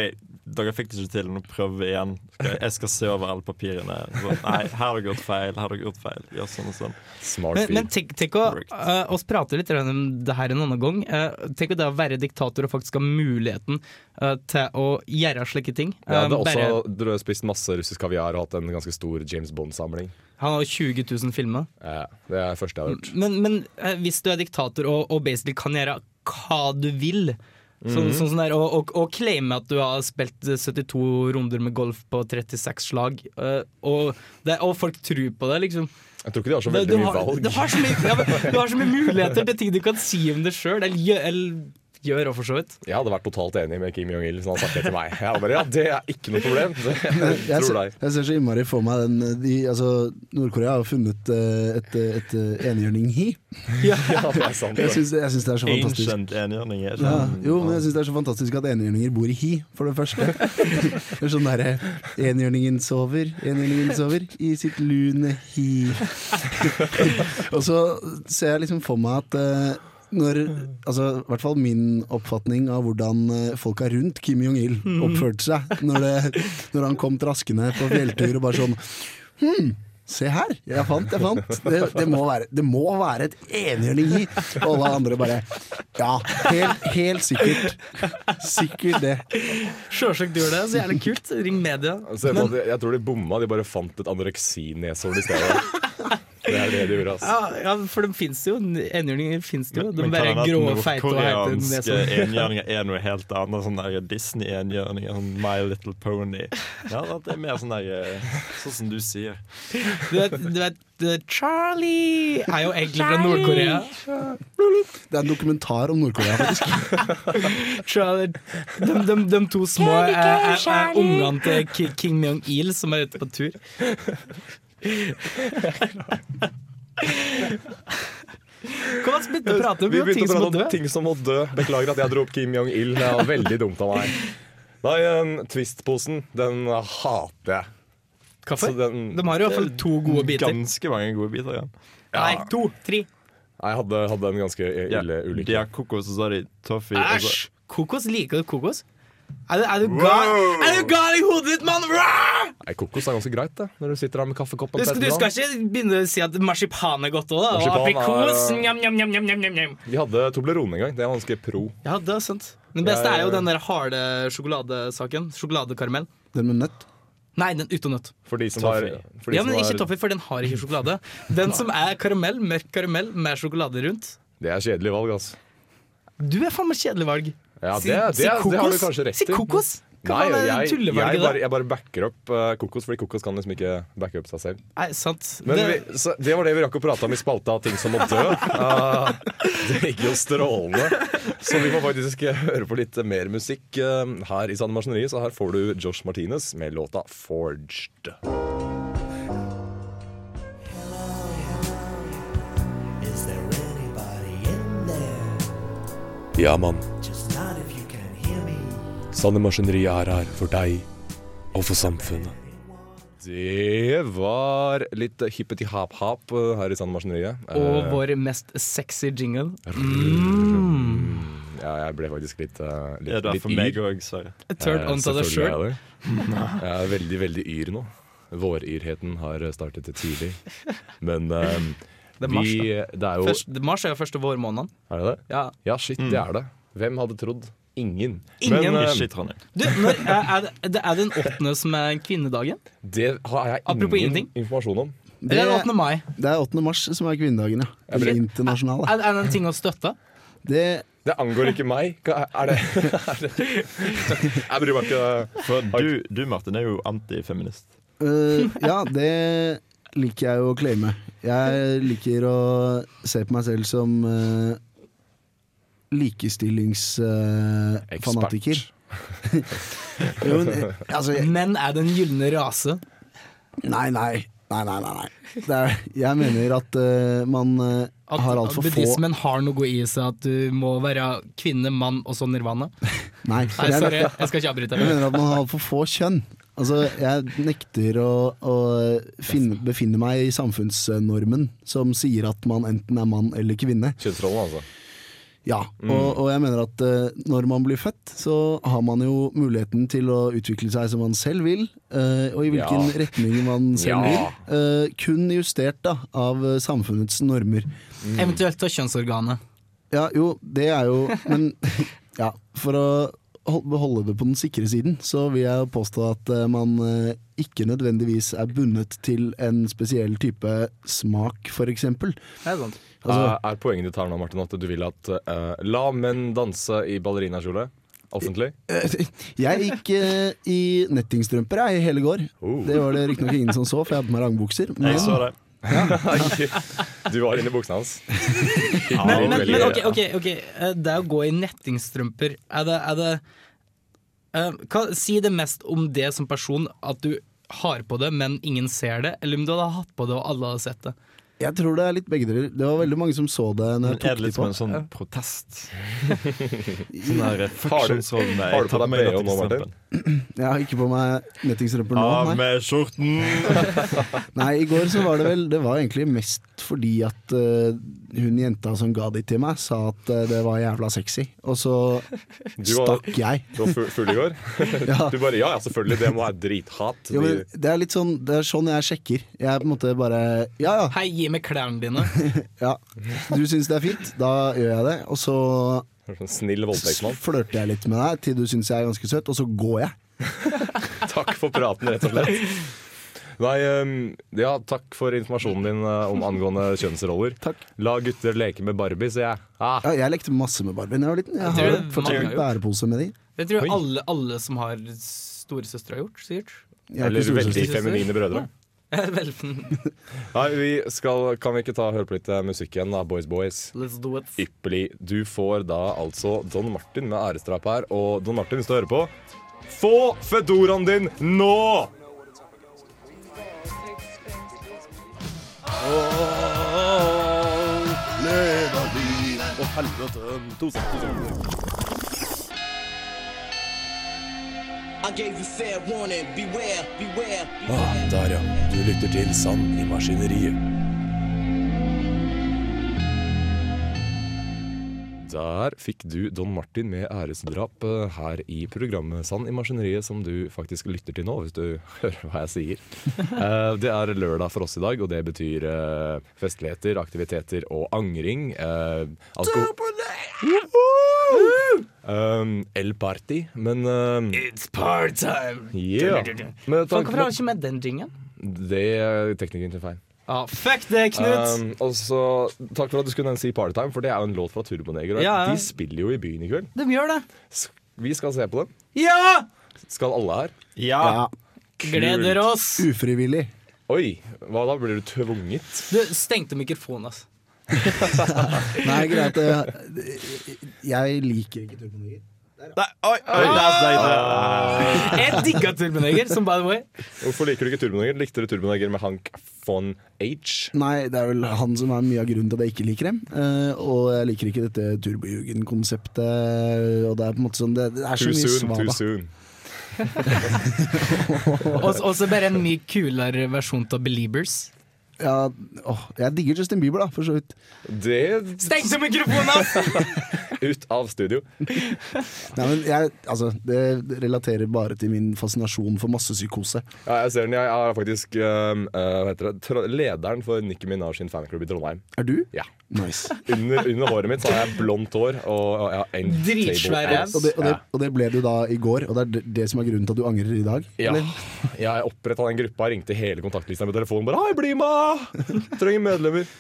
[SPEAKER 7] dere fikk det ikke til, nå prøver vi igjen. Skal jeg, jeg skal se over alle papirene. Så, nei, her har dere gjort feil. Her har dere gjort feil. Gjør sånn og sånn.
[SPEAKER 2] Smart
[SPEAKER 3] Men,
[SPEAKER 2] fyr.
[SPEAKER 3] men tenk, tenk å
[SPEAKER 7] Correct.
[SPEAKER 3] eh, oss prate litt om det her en annen gang. Eh, tenk å det å være diktator og faktisk ha muligheten eh, til å gjøre slike ting.
[SPEAKER 2] Jeg
[SPEAKER 3] Eh,
[SPEAKER 2] hadde
[SPEAKER 3] bare,
[SPEAKER 2] også dro- spist masse russisk kaviar og hatt en ganske stor James Bond-samling.
[SPEAKER 3] han har jo 20 000 filmer.
[SPEAKER 2] Eh, Det er det første jeg har hørt.
[SPEAKER 3] Men, men eh, hvis du er diktator og, og basically kan gjøre hva du vil Sånn, sånn som det er, og, og, og claime at du har spilt 72 runder med golf på 36 slag, eh, og, det, og folk tror på det, liksom.
[SPEAKER 2] Jeg tror ikke de har så
[SPEAKER 3] Det-
[SPEAKER 2] veldig
[SPEAKER 3] du,
[SPEAKER 2] mye
[SPEAKER 3] har,
[SPEAKER 2] valg.
[SPEAKER 3] du, har så mye, ja, men, du har så mye muligheter til ting du kan si om det sjøl, eller, gjø- eller gjør, og for så vidt.
[SPEAKER 2] Jeg hadde vært totalt enig med Kim Jong-il hvis han hadde sagt det til meg. Jeg hadde bare, ja, Det er ikke noe problem. Det, jeg
[SPEAKER 4] Jeg
[SPEAKER 2] tror
[SPEAKER 4] ser,
[SPEAKER 2] deg.
[SPEAKER 4] jeg ser så innmari for meg den eh, de, altså, Nord-Korea har jo funnet eh, et, eh, et eh, enhjørning-hi.
[SPEAKER 2] Ja, det er sant.
[SPEAKER 4] Jeg
[SPEAKER 2] det.
[SPEAKER 4] syns jeg syns det er så fantastisk.
[SPEAKER 7] Ancient enhjørning. er
[SPEAKER 4] Ja,
[SPEAKER 7] sånn-
[SPEAKER 4] jo, men jeg syns det er så fantastisk at enhjørninger bor i hi, for det første. Det er sånn derre Enhjørningen sover, enhjørningen sover i sitt lune hi. Og så ser jeg liksom for meg at eh, når Altså, i hvert fall min oppfatning av hvordan eh, folka rundt Kim Jong-il oppførte seg når, det, når han kom traskende på fjelltur og bare sånn Hm, se her! Jeg fant, jeg fant. Det, det, må, være, det må være et enhjørning i. Og alle andre bare Ja, helt, helt sikkert. Sikkert det.
[SPEAKER 3] Sjølsagt gjør det, så jævlig kult. Ring media.
[SPEAKER 2] Se på at de- Jeg tror de bomma. De bare fant et anoreksinesår i stedet. Det er det de gjorde, ass.
[SPEAKER 3] Ja, ja, for de fins jo. Enhjørninger fins jo. De
[SPEAKER 7] Men
[SPEAKER 3] bare
[SPEAKER 7] kan det være at
[SPEAKER 3] grå, feite og heite
[SPEAKER 7] Nordkoreanske
[SPEAKER 3] neser.
[SPEAKER 7] enhjørninger er noe helt annet. Sånn der Disney-enhjørninger, sånn My Little Pony. Ja, det er mer sånn der Sånn som du sier.
[SPEAKER 3] Du vet, du vet eh, Charlie er jo egentlig fra Nord-Korea.
[SPEAKER 4] Det er en dokumentar om Nord-Korea, faktisk.
[SPEAKER 3] Charlie- De, de, de to små er, er, er ungene til Ki- Kim Jong-il som er ute på tur. Kom an, slutt å prate om
[SPEAKER 2] Vi
[SPEAKER 3] jo,
[SPEAKER 2] begynte
[SPEAKER 3] ting
[SPEAKER 2] å
[SPEAKER 3] som må
[SPEAKER 2] prate
[SPEAKER 3] dø.
[SPEAKER 2] om ting som må dø. Beklager at jeg dro opp Kim Jong-il. Det var veldig dumt av meg. Nei, um, Twist-posen, den hater jeg.
[SPEAKER 3] Hvorfor?
[SPEAKER 2] Så altså, den-
[SPEAKER 3] De har jo iallfall to gode biter.
[SPEAKER 7] Ganske mange gode biter igjen.
[SPEAKER 3] Nei, to, tre.
[SPEAKER 2] Jeg hadde, hadde en ganske ille
[SPEAKER 7] De
[SPEAKER 2] ulykke.
[SPEAKER 7] har kokos, og så har de toffee. og så-
[SPEAKER 3] Æsj! Kokos? Liker du kokos? Er du, er du gal Er du gal i hodet ditt, mann? Rah!
[SPEAKER 2] Nei, kokos er ganske greit, det. Når du sitter der med kaffekoppen.
[SPEAKER 3] Du skal, du
[SPEAKER 2] på
[SPEAKER 3] skal
[SPEAKER 2] ettermiddagen.
[SPEAKER 3] ikke begynne å si at marsipan er godt òg, da? Og
[SPEAKER 2] Marsipan er-
[SPEAKER 3] aprikos? Njam, njam, njam, njam, njam, njam.
[SPEAKER 2] Vi hadde Toblerone en gang. Det er ganske pro.
[SPEAKER 3] Ja, det er sant. Den beste
[SPEAKER 2] Jeg-
[SPEAKER 3] er jo den der harde sjokoladesaken. Sjokoladekarmell.
[SPEAKER 4] Den med nøtt.
[SPEAKER 3] Nei, den uten nøtt.
[SPEAKER 2] For de som
[SPEAKER 7] Toffee.
[SPEAKER 2] har for de
[SPEAKER 3] Ja,
[SPEAKER 2] som
[SPEAKER 3] men
[SPEAKER 2] har-
[SPEAKER 3] Ikke toffee, for den har ikke sjokolade. Den som er karamell, mørk karamell med sjokolade rundt.
[SPEAKER 2] Det er kjedelig valg, altså.
[SPEAKER 3] Du er faen meg kjedelig valg.
[SPEAKER 2] Ja, det,
[SPEAKER 3] Si-
[SPEAKER 2] det,
[SPEAKER 3] si
[SPEAKER 2] det har du
[SPEAKER 3] kokos.
[SPEAKER 2] kanskje rett
[SPEAKER 3] Si
[SPEAKER 2] i.
[SPEAKER 3] kokos. Hva
[SPEAKER 2] Nei,
[SPEAKER 3] faen er det
[SPEAKER 2] jeg, jeg,
[SPEAKER 3] tullevalget
[SPEAKER 2] bare,
[SPEAKER 3] der?
[SPEAKER 2] jeg bare backer opp eh, kokos, fordi kokos kan liksom ikke backe opp seg selv.
[SPEAKER 3] Nei, sant.
[SPEAKER 2] Men
[SPEAKER 3] det,
[SPEAKER 2] vi, så det var det vi rakk å prate om i spalta Ting som må dø. Eh, det gikk jo strålende. Så vi må faktisk eh, høre på litt mer musikk eh, her i Sande Maskineriet. Så her får du Josh Martinez med låta 'Forged'. Ja, mann. Sanne Maskineriet er her for deg og for samfunnet. Det var litt hippeti-hap-hap eh, her i Sande Maskineriet. Eh,
[SPEAKER 3] og vår mest sexy jingle.
[SPEAKER 2] Ja, jeg ble faktisk litt, eh, litt,
[SPEAKER 7] mm. Ja, det er
[SPEAKER 2] litt
[SPEAKER 7] for meg òg, Sverre.
[SPEAKER 3] Turn on til deg sjøl.
[SPEAKER 2] Eh, Jeg, det. jeg er veldig, veldig yr nå. Våryrheten har startet tidlig. Men eh,
[SPEAKER 3] er mars,
[SPEAKER 2] vi, det er jo
[SPEAKER 3] Først, mars er jo første vårmåneden.
[SPEAKER 2] Er det det?
[SPEAKER 3] Ja.
[SPEAKER 2] Ja, shit, det er det. Hvem hadde trodd? Ingen.
[SPEAKER 3] Ingen?
[SPEAKER 2] Men, eh,
[SPEAKER 7] Ikke i Trondheim.
[SPEAKER 3] Du, når, er, er, det, er det den åttende som er kvinnedagen?
[SPEAKER 2] det har jeg
[SPEAKER 3] Apropos
[SPEAKER 2] ingen
[SPEAKER 3] ingenting.
[SPEAKER 2] informasjon om.
[SPEAKER 3] Eller er det 8. mai?
[SPEAKER 4] Det er 8. mars som er kvinnedagen, ja. Den internasjonale.
[SPEAKER 3] Er, er det en ting å støtte?
[SPEAKER 4] Det,
[SPEAKER 2] Det angår ikke meg. Hva Er det, er det? Jeg bryr meg ikke.
[SPEAKER 7] For du, du Martin, er jo antifeminist.
[SPEAKER 4] øh, ja, det liker jeg jo å claime. Jeg liker å se på meg selv som uh, likestillingsfanatiker.
[SPEAKER 2] Ekspert.
[SPEAKER 4] jo, men, eh, altså, jeg,
[SPEAKER 3] Menn er den gylne rase.
[SPEAKER 4] nei, nei. Nei, nei, nei. nei. Det er, jeg mener at øh, man øh,
[SPEAKER 3] At
[SPEAKER 4] har altfor få
[SPEAKER 3] buddhismen har noe i seg at du må være kvinne, mann og så nirvana.
[SPEAKER 4] Nei,
[SPEAKER 3] Nei,
[SPEAKER 4] jeg-
[SPEAKER 3] sorry, jeg skal ikke avbryte.
[SPEAKER 4] Jeg mener at man har for få kjønn. Altså, jeg nekter å, å eh, finne, befinne meg i samfunnsnormen som sier at man enten er mann eller kvinne.
[SPEAKER 2] Kjønnsrollen, altså.
[SPEAKER 4] Ja,
[SPEAKER 2] Mm.
[SPEAKER 4] og, og jeg mener at eh, når man blir født, så har man jo muligheten til å utvikle seg som man selv vil, eh, og i hvilken
[SPEAKER 2] Ja.
[SPEAKER 4] retning man
[SPEAKER 2] Ja.
[SPEAKER 4] selv vil. Eh, kun justert da, av eh, samfunnets normer.
[SPEAKER 2] Mm.
[SPEAKER 3] Eventuelt av kjønnsorganet.
[SPEAKER 4] Ja, jo, det er jo Men ja, for å hol- beholde det på den sikre siden, så vil jeg jo påstå at eh, man eh, ikke nødvendigvis er bundet til en spesiell type smak, for eksempel.
[SPEAKER 3] Det er sant.
[SPEAKER 4] Altså,
[SPEAKER 2] er, er poenget ditt her nå, Martin, at du vil at eh, la menn danse i ballerinakjole? Offentlig?
[SPEAKER 7] Ah.
[SPEAKER 4] jeg gikk eh, i nettingstrømper jeg, i hele går.
[SPEAKER 2] Oh.
[SPEAKER 4] Det var det riktignok ingen som så, for jeg hadde på meg rangbukser.
[SPEAKER 3] Ah.
[SPEAKER 7] Jeg så
[SPEAKER 4] Men
[SPEAKER 7] det.
[SPEAKER 2] Du var inni buksene hans.
[SPEAKER 3] Men,
[SPEAKER 2] Ja,
[SPEAKER 3] men,
[SPEAKER 2] veldig
[SPEAKER 3] men
[SPEAKER 2] gøy.
[SPEAKER 3] ok, ok, ok, eh, det å gå i nettingstrømper Er det, er det eh, hva, Si det mest om det som person At du har på det, men ingen ser det Eller om du hadde hatt på det og alle hadde sett det
[SPEAKER 4] jeg tror det er litt begge deler. Det var veldig mange som så det. Når
[SPEAKER 7] Men
[SPEAKER 4] jeg
[SPEAKER 7] er
[SPEAKER 4] tok
[SPEAKER 7] det
[SPEAKER 4] de
[SPEAKER 7] litt som
[SPEAKER 4] på.
[SPEAKER 7] en sånn protest? Sånn her
[SPEAKER 2] Har du-
[SPEAKER 7] funksjonsrollen jeg
[SPEAKER 2] har du på
[SPEAKER 7] tar
[SPEAKER 2] deg
[SPEAKER 7] med
[SPEAKER 2] BH nå,
[SPEAKER 7] til
[SPEAKER 2] Martin?
[SPEAKER 7] stampen.
[SPEAKER 4] Jeg har ikke på meg nettingstrømper nå.
[SPEAKER 7] Av
[SPEAKER 4] nei.
[SPEAKER 7] med skjorten!
[SPEAKER 4] Nei, i går så var det vel Det var egentlig mest fordi at eh, hun jenta som ga de til meg, sa at eh, det var jævla sexy. Og så
[SPEAKER 2] Du var,
[SPEAKER 4] stakk jeg.
[SPEAKER 2] du var fu- full i går?
[SPEAKER 4] Ja.
[SPEAKER 2] Du bare ja, ja, selvfølgelig, det må være drithat.
[SPEAKER 4] Jo, men det er litt sånn Det er sånn jeg sjekker. Jeg er på en måte bare Ja ja,
[SPEAKER 3] Hei, gi meg klærne dine
[SPEAKER 4] ja. du syns det er fint, da gjør jeg det. Og så
[SPEAKER 2] De- sånn Snill voldtektsmann.
[SPEAKER 4] flørter jeg litt med deg til du syns jeg er ganske søt, og så går jeg.
[SPEAKER 2] Takk for praten, rett og slett. Nei, ehm, ja, takk for informasjonen din eh, om angående kjønnsroller.
[SPEAKER 4] Takk.
[SPEAKER 2] La gutter leke med Barbie, sier jeg. Ah,
[SPEAKER 4] Ja, jeg lekte masse med Barbie da jeg var liten. Jeg
[SPEAKER 3] tror
[SPEAKER 4] har
[SPEAKER 3] det
[SPEAKER 4] fortsatt
[SPEAKER 3] mange har
[SPEAKER 4] en
[SPEAKER 3] gjort.
[SPEAKER 4] bærepose med de.
[SPEAKER 3] Det tror jeg
[SPEAKER 2] Oi.
[SPEAKER 3] alle, alle som har store søstre har gjort, sikkert
[SPEAKER 4] Jeg har ikke
[SPEAKER 2] eller
[SPEAKER 4] storesøster.
[SPEAKER 2] veldig feminine brødre.
[SPEAKER 3] Vel,
[SPEAKER 2] Nei, vi skal, Kan vi ikke ta høre på litt eh, musikk igjen, da, Boys Boys?
[SPEAKER 3] Let's do it
[SPEAKER 2] Ypperlig. Du får da altså Don Martin med ærestrapp her. Og Don Martin, hvis du hører på, få fedoraen din nå! Ah, der, ja. Du lytter til Sand i maskineriet. Der fikk du Don Martin med æresdrap eh, her i programmet Sand i maskineriet, som du faktisk lytter til nå, hvis du hører hva jeg sier. Eh, Det er lørdag for oss i dag, og det betyr eh, festligheter, aktiviteter og angring. eh, alko- Woohoo! Um, El Party, men um,
[SPEAKER 3] It's part time
[SPEAKER 2] Yeah. Med tanke
[SPEAKER 3] Folk
[SPEAKER 2] på-
[SPEAKER 3] kommer ikke med den jingen
[SPEAKER 2] Det er teknikken til feil.
[SPEAKER 3] ah, Fuck det, Knut
[SPEAKER 2] Um, og så, Takk for at du skulle nevne si Partytime, for det er jo en låt fra Turboneger. og
[SPEAKER 3] Ja, ja.
[SPEAKER 2] De spiller jo i byen i kveld.
[SPEAKER 3] De gjør det
[SPEAKER 2] S- Vi skal se på dem.
[SPEAKER 3] Ja!
[SPEAKER 2] Skal alle her?
[SPEAKER 7] Ja!
[SPEAKER 4] Ja,
[SPEAKER 3] Gleder oss
[SPEAKER 4] ufrivillig.
[SPEAKER 2] Oi, hva da? Blir du tvunget?
[SPEAKER 3] Du, stengte mikrofonen, altså.
[SPEAKER 4] Nei, greit. eh, Jeg, jeg liker ikke turbonier.
[SPEAKER 7] Nei, oi, oi, der steg det. altså
[SPEAKER 3] Jeg digga Turboneger, som by the way.
[SPEAKER 2] Hvorfor liker du ikke Turboneger? Likte du Turboneger med Hank von H?
[SPEAKER 4] Nei, det er vel han som er mye av grunnen til at jeg ikke liker dem. Eh, og jeg liker ikke dette turbojugen-konseptet. Og det er på en måte sånn Det, det er så
[SPEAKER 2] Too
[SPEAKER 4] mye
[SPEAKER 2] soon, too
[SPEAKER 4] svada.
[SPEAKER 2] soon.
[SPEAKER 3] Og og så bare en mye kulere versjon av Beliebers.
[SPEAKER 4] Ja, åh, jeg digger Justin Bieber, da, for så vidt.
[SPEAKER 2] Det
[SPEAKER 3] Stengte mikrofonen, altså!
[SPEAKER 2] ut av studio.
[SPEAKER 4] Nei, men jeg, altså, det relaterer bare til min fascinasjon for massepsykose.
[SPEAKER 2] Ja, jeg ser den. uh, Jeg er faktisk um, eh, hva heter det? Tro lederen for Nicki Minaj sin fanklubb i Trondheim.
[SPEAKER 4] Er du?
[SPEAKER 2] Ja.
[SPEAKER 4] Nice.
[SPEAKER 2] Under, under håret mitt så har jeg blondt hår og, og jeg har en
[SPEAKER 3] Dritsvær
[SPEAKER 2] table ass.
[SPEAKER 3] ass.
[SPEAKER 4] Og det, og, det, og det ble du da i går, og det er det- det som er grunnen til at du angrer i dag?
[SPEAKER 2] Ja. Jeg oppretta den gruppa, ringte hele kontaktlista på telefonen. Bare 'Hei, bli med! Trenger medlemmer!'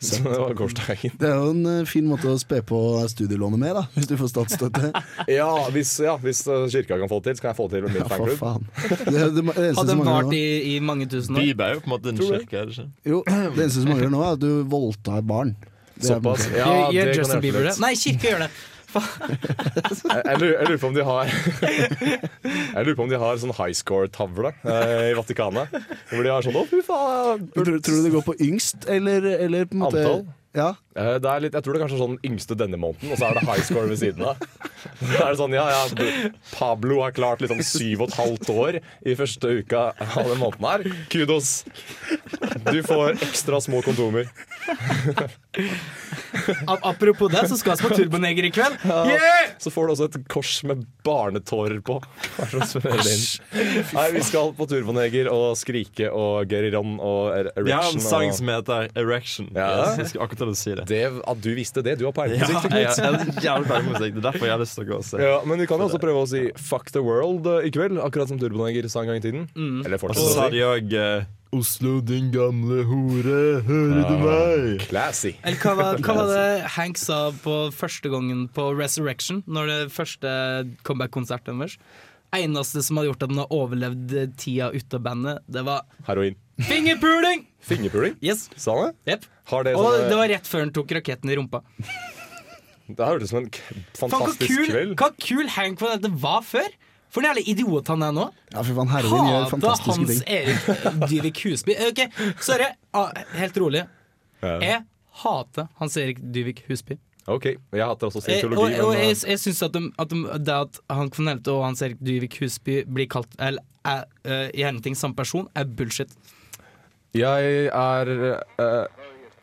[SPEAKER 2] Så det var gårsdagen.
[SPEAKER 4] Det er jo en eh, fin måte å spe på studielånet med, da, hvis du får statsstøtte.
[SPEAKER 2] Ja, hvis, ja, hvis eh, kirka kan få det til, så kan jeg få det til med min
[SPEAKER 4] Ja, for
[SPEAKER 2] fanklubb.
[SPEAKER 4] faen. Det, det, det, eneste
[SPEAKER 3] Hadde
[SPEAKER 4] som
[SPEAKER 3] den
[SPEAKER 4] mangler
[SPEAKER 3] vart
[SPEAKER 4] nå,
[SPEAKER 3] i, i mange tusen år.
[SPEAKER 7] Bibel er jo på en måte en kirke, er det ikke?
[SPEAKER 4] jo, det eneste som mangler nå, er at du voldta et barn. Det er-
[SPEAKER 2] Såpass. Ja,
[SPEAKER 3] Gjør-
[SPEAKER 2] det
[SPEAKER 3] Gjør
[SPEAKER 2] kan
[SPEAKER 3] Justin
[SPEAKER 2] hjelpe
[SPEAKER 3] Bieber det?
[SPEAKER 2] litt.
[SPEAKER 3] Nei, kirke gjør det!
[SPEAKER 2] Jeg, jeg lurer jeg lurer på om de har Jeg lurer på om de har sånn high score-tavle eh, i Vatikanet. Hvor de har sånn 'Å, fy faen'.
[SPEAKER 4] Tror, tror du det går på yngst, eller, eller på en måte
[SPEAKER 2] Antall?
[SPEAKER 4] Ja.
[SPEAKER 2] Eh, Det er litt, jeg tror det er kanskje sånn yngste denne måneden, og så er det high score ved siden av. Så er det sånn, ja, ja, du- Pablo har klart liksom syv og et halvt år i første uka av den måneden her. Kudos! Du får ekstra små kondomer.
[SPEAKER 3] A- Apropos det, så skal vi på Turboneger i kveld. Yeah!
[SPEAKER 2] Så får du også et kors med barnetårer på. Hva er det som smører det inn? Nei, vi skal på Turboneger og Skrike og Geriron og Er-
[SPEAKER 7] Vi har en
[SPEAKER 2] Erection.
[SPEAKER 7] sang
[SPEAKER 2] Og
[SPEAKER 7] som heter Erection.
[SPEAKER 2] Ja.
[SPEAKER 7] Yes, jeg skulle akkurat til å si det.
[SPEAKER 2] det, at Ah, du visste det, du har peiling
[SPEAKER 7] Ja,
[SPEAKER 2] på
[SPEAKER 7] jeg,
[SPEAKER 2] musikk.
[SPEAKER 7] jeg, er jævlig ferdig med musikk. Det er derfor jeg har lyst til å gå og se.
[SPEAKER 2] Ja, men vi kan jo også prøve å si 'fuck the world' eh, i kveld, akkurat som Turboneger sa en gang i tiden.
[SPEAKER 3] Mm.
[SPEAKER 2] Eller
[SPEAKER 7] Og så
[SPEAKER 2] fortsatt
[SPEAKER 7] sa
[SPEAKER 2] å si.
[SPEAKER 7] de òg Oslo, din gamle hore, hører du meg?
[SPEAKER 2] Classy.
[SPEAKER 3] Eller hva var, hva var det Hank sa på første gangen på Resurrection, når det første comeback-konserten deres? Eneste som hadde gjort at den har overlevd tida ute av bandet, det var
[SPEAKER 2] Heroin.
[SPEAKER 3] fingerpuling!
[SPEAKER 2] Fingerpuling?
[SPEAKER 3] Yes.
[SPEAKER 2] Sa han det?
[SPEAKER 3] Yep.
[SPEAKER 2] Har det
[SPEAKER 3] Og
[SPEAKER 2] sånne-
[SPEAKER 3] det var rett før han tok raketten i rumpa.
[SPEAKER 2] Det her hørtes ut som en k
[SPEAKER 3] Faen, hva
[SPEAKER 2] fantastisk
[SPEAKER 3] kul,
[SPEAKER 2] kveld.
[SPEAKER 3] hva kul Hank var dette var før! For en jævla idiot han er nå.
[SPEAKER 4] Ja, fy faen, heroin gjør
[SPEAKER 3] Hata
[SPEAKER 4] fantastiske
[SPEAKER 3] Hans
[SPEAKER 4] ting.
[SPEAKER 3] Erik Dyvik Husby. Ok, sorry. Ah, helt rolig. Jeg hater Hans Erik Dyvik Husby.
[SPEAKER 2] Ok, jeg hater også
[SPEAKER 3] Jeg, og,
[SPEAKER 2] scientologi,
[SPEAKER 3] og
[SPEAKER 2] men
[SPEAKER 3] jeg,
[SPEAKER 2] eh,
[SPEAKER 3] jeg syns at, de, at de, det at Hank von Helte og Hans Erik Dyvik Husby blir kalt Eller er, eh, i henting samme person, er bullshit.
[SPEAKER 2] jeg er eh,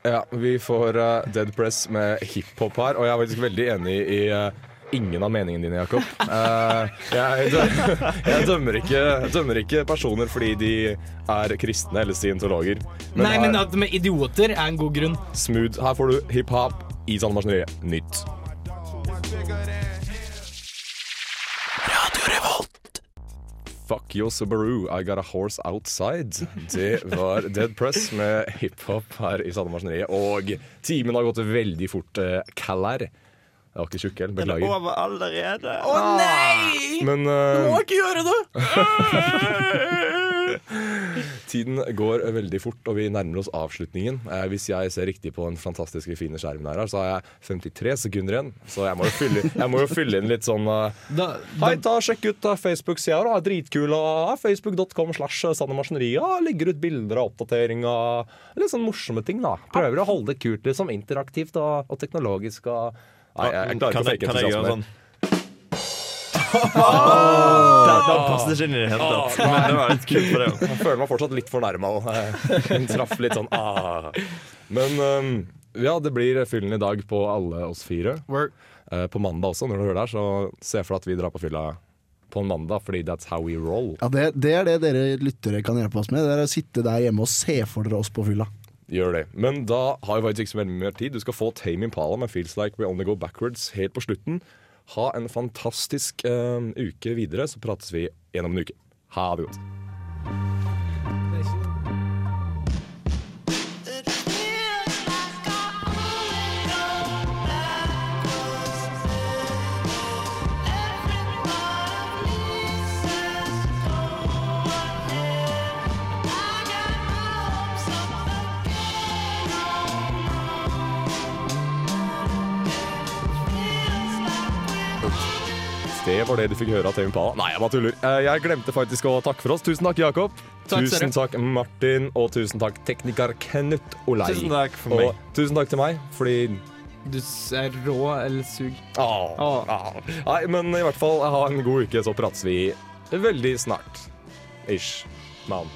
[SPEAKER 2] Ja, vi får eh, Dead Press med hiphop her, og jeg er faktisk veldig enig i eh, Ingen av meningene dine, Jakob. Eh, jeg, dø- jeg dømmer ikke, dømmer ikke personer fordi de er kristne eller scientologer. Men,
[SPEAKER 3] Nei, men
[SPEAKER 2] her,
[SPEAKER 3] at de er idioter, er en god grunn.
[SPEAKER 2] smooth, her får du hiphop i Sandemarseneriet. Nytt. Fuck yo Subaru, I got a horse outside. Det var Dead Press med hiphop her i Sandemarseneriet. Og timen har gått veldig fort. eh, Kallær. Jeg var ikke tjukkel, beklager.
[SPEAKER 7] Over allerede.
[SPEAKER 3] Å nei!
[SPEAKER 2] Men eh,
[SPEAKER 3] ikke gjøre det!
[SPEAKER 2] tiden går veldig fort, og vi nærmer oss avslutningen. Eh, hvis jeg ser riktig på den fantastiske fine skjermen her, så har jeg 53 sekunder igjen. Så jeg må jo fylle, jeg må jo fylle inn litt sånn eh,
[SPEAKER 3] Da, da,
[SPEAKER 2] Hei, ta og Sjekk ut eh, Facebook-sida. da, Dritkul. og, eh, Facebook.com slash eh, sandemaskineriet. Legger ut bilder av oppdatering og litt sånn morsomme ting. da. Prøver å holde det kult liksom, interaktivt og, og teknologisk. og... Nei, jeg, jeg klarer
[SPEAKER 7] Kan
[SPEAKER 2] ikke å
[SPEAKER 7] jeg,
[SPEAKER 2] fake
[SPEAKER 7] kan jeg gjøre
[SPEAKER 2] entusiasme.
[SPEAKER 7] sånn? Da, da passer det ikke inn i det hele tatt. Men det var litt kult for det òg.
[SPEAKER 2] Jeg føler meg fortsatt litt fornærma. Hun traff litt sånn ah. Men ehm, ja, det blir fyllen i dag på alle oss fire.
[SPEAKER 3] Word.
[SPEAKER 2] Eh, på mandag også, når du hører det her, så se for deg at vi drar på fylla på en mandag, fordi that's how we roll.
[SPEAKER 4] Ja, det, det er det dere lyttere kan hjelpe oss med. Det er å sitte der hjemme og se for dere oss på fylla.
[SPEAKER 2] Gjør det. Men da har vi faktisk ikke så veldig mye mer tid. Du skal få Tame Impala med 'Feels Like We Only Go Backwards' helt på slutten. Ha en fantastisk eh, uke videre, så prates vi gjennom en uke. Ha det godt. Det var det du fikk høre av Tame Impala. Nei, jeg bare tuller. Eh, jeg glemte faktisk å takke for oss. Tusen takk, Jakob.
[SPEAKER 3] Takk,
[SPEAKER 2] tusen takk, Martin. Og tusen takk, tekniker Knut Olai.
[SPEAKER 7] Tusen takk for meg.
[SPEAKER 2] og tusen takk til meg, fordi
[SPEAKER 3] du er rå eller sug.
[SPEAKER 2] Åh, åh. Nei, men i hvert fall, ha en god uke, så prates vi veldig snart. Ish. Man.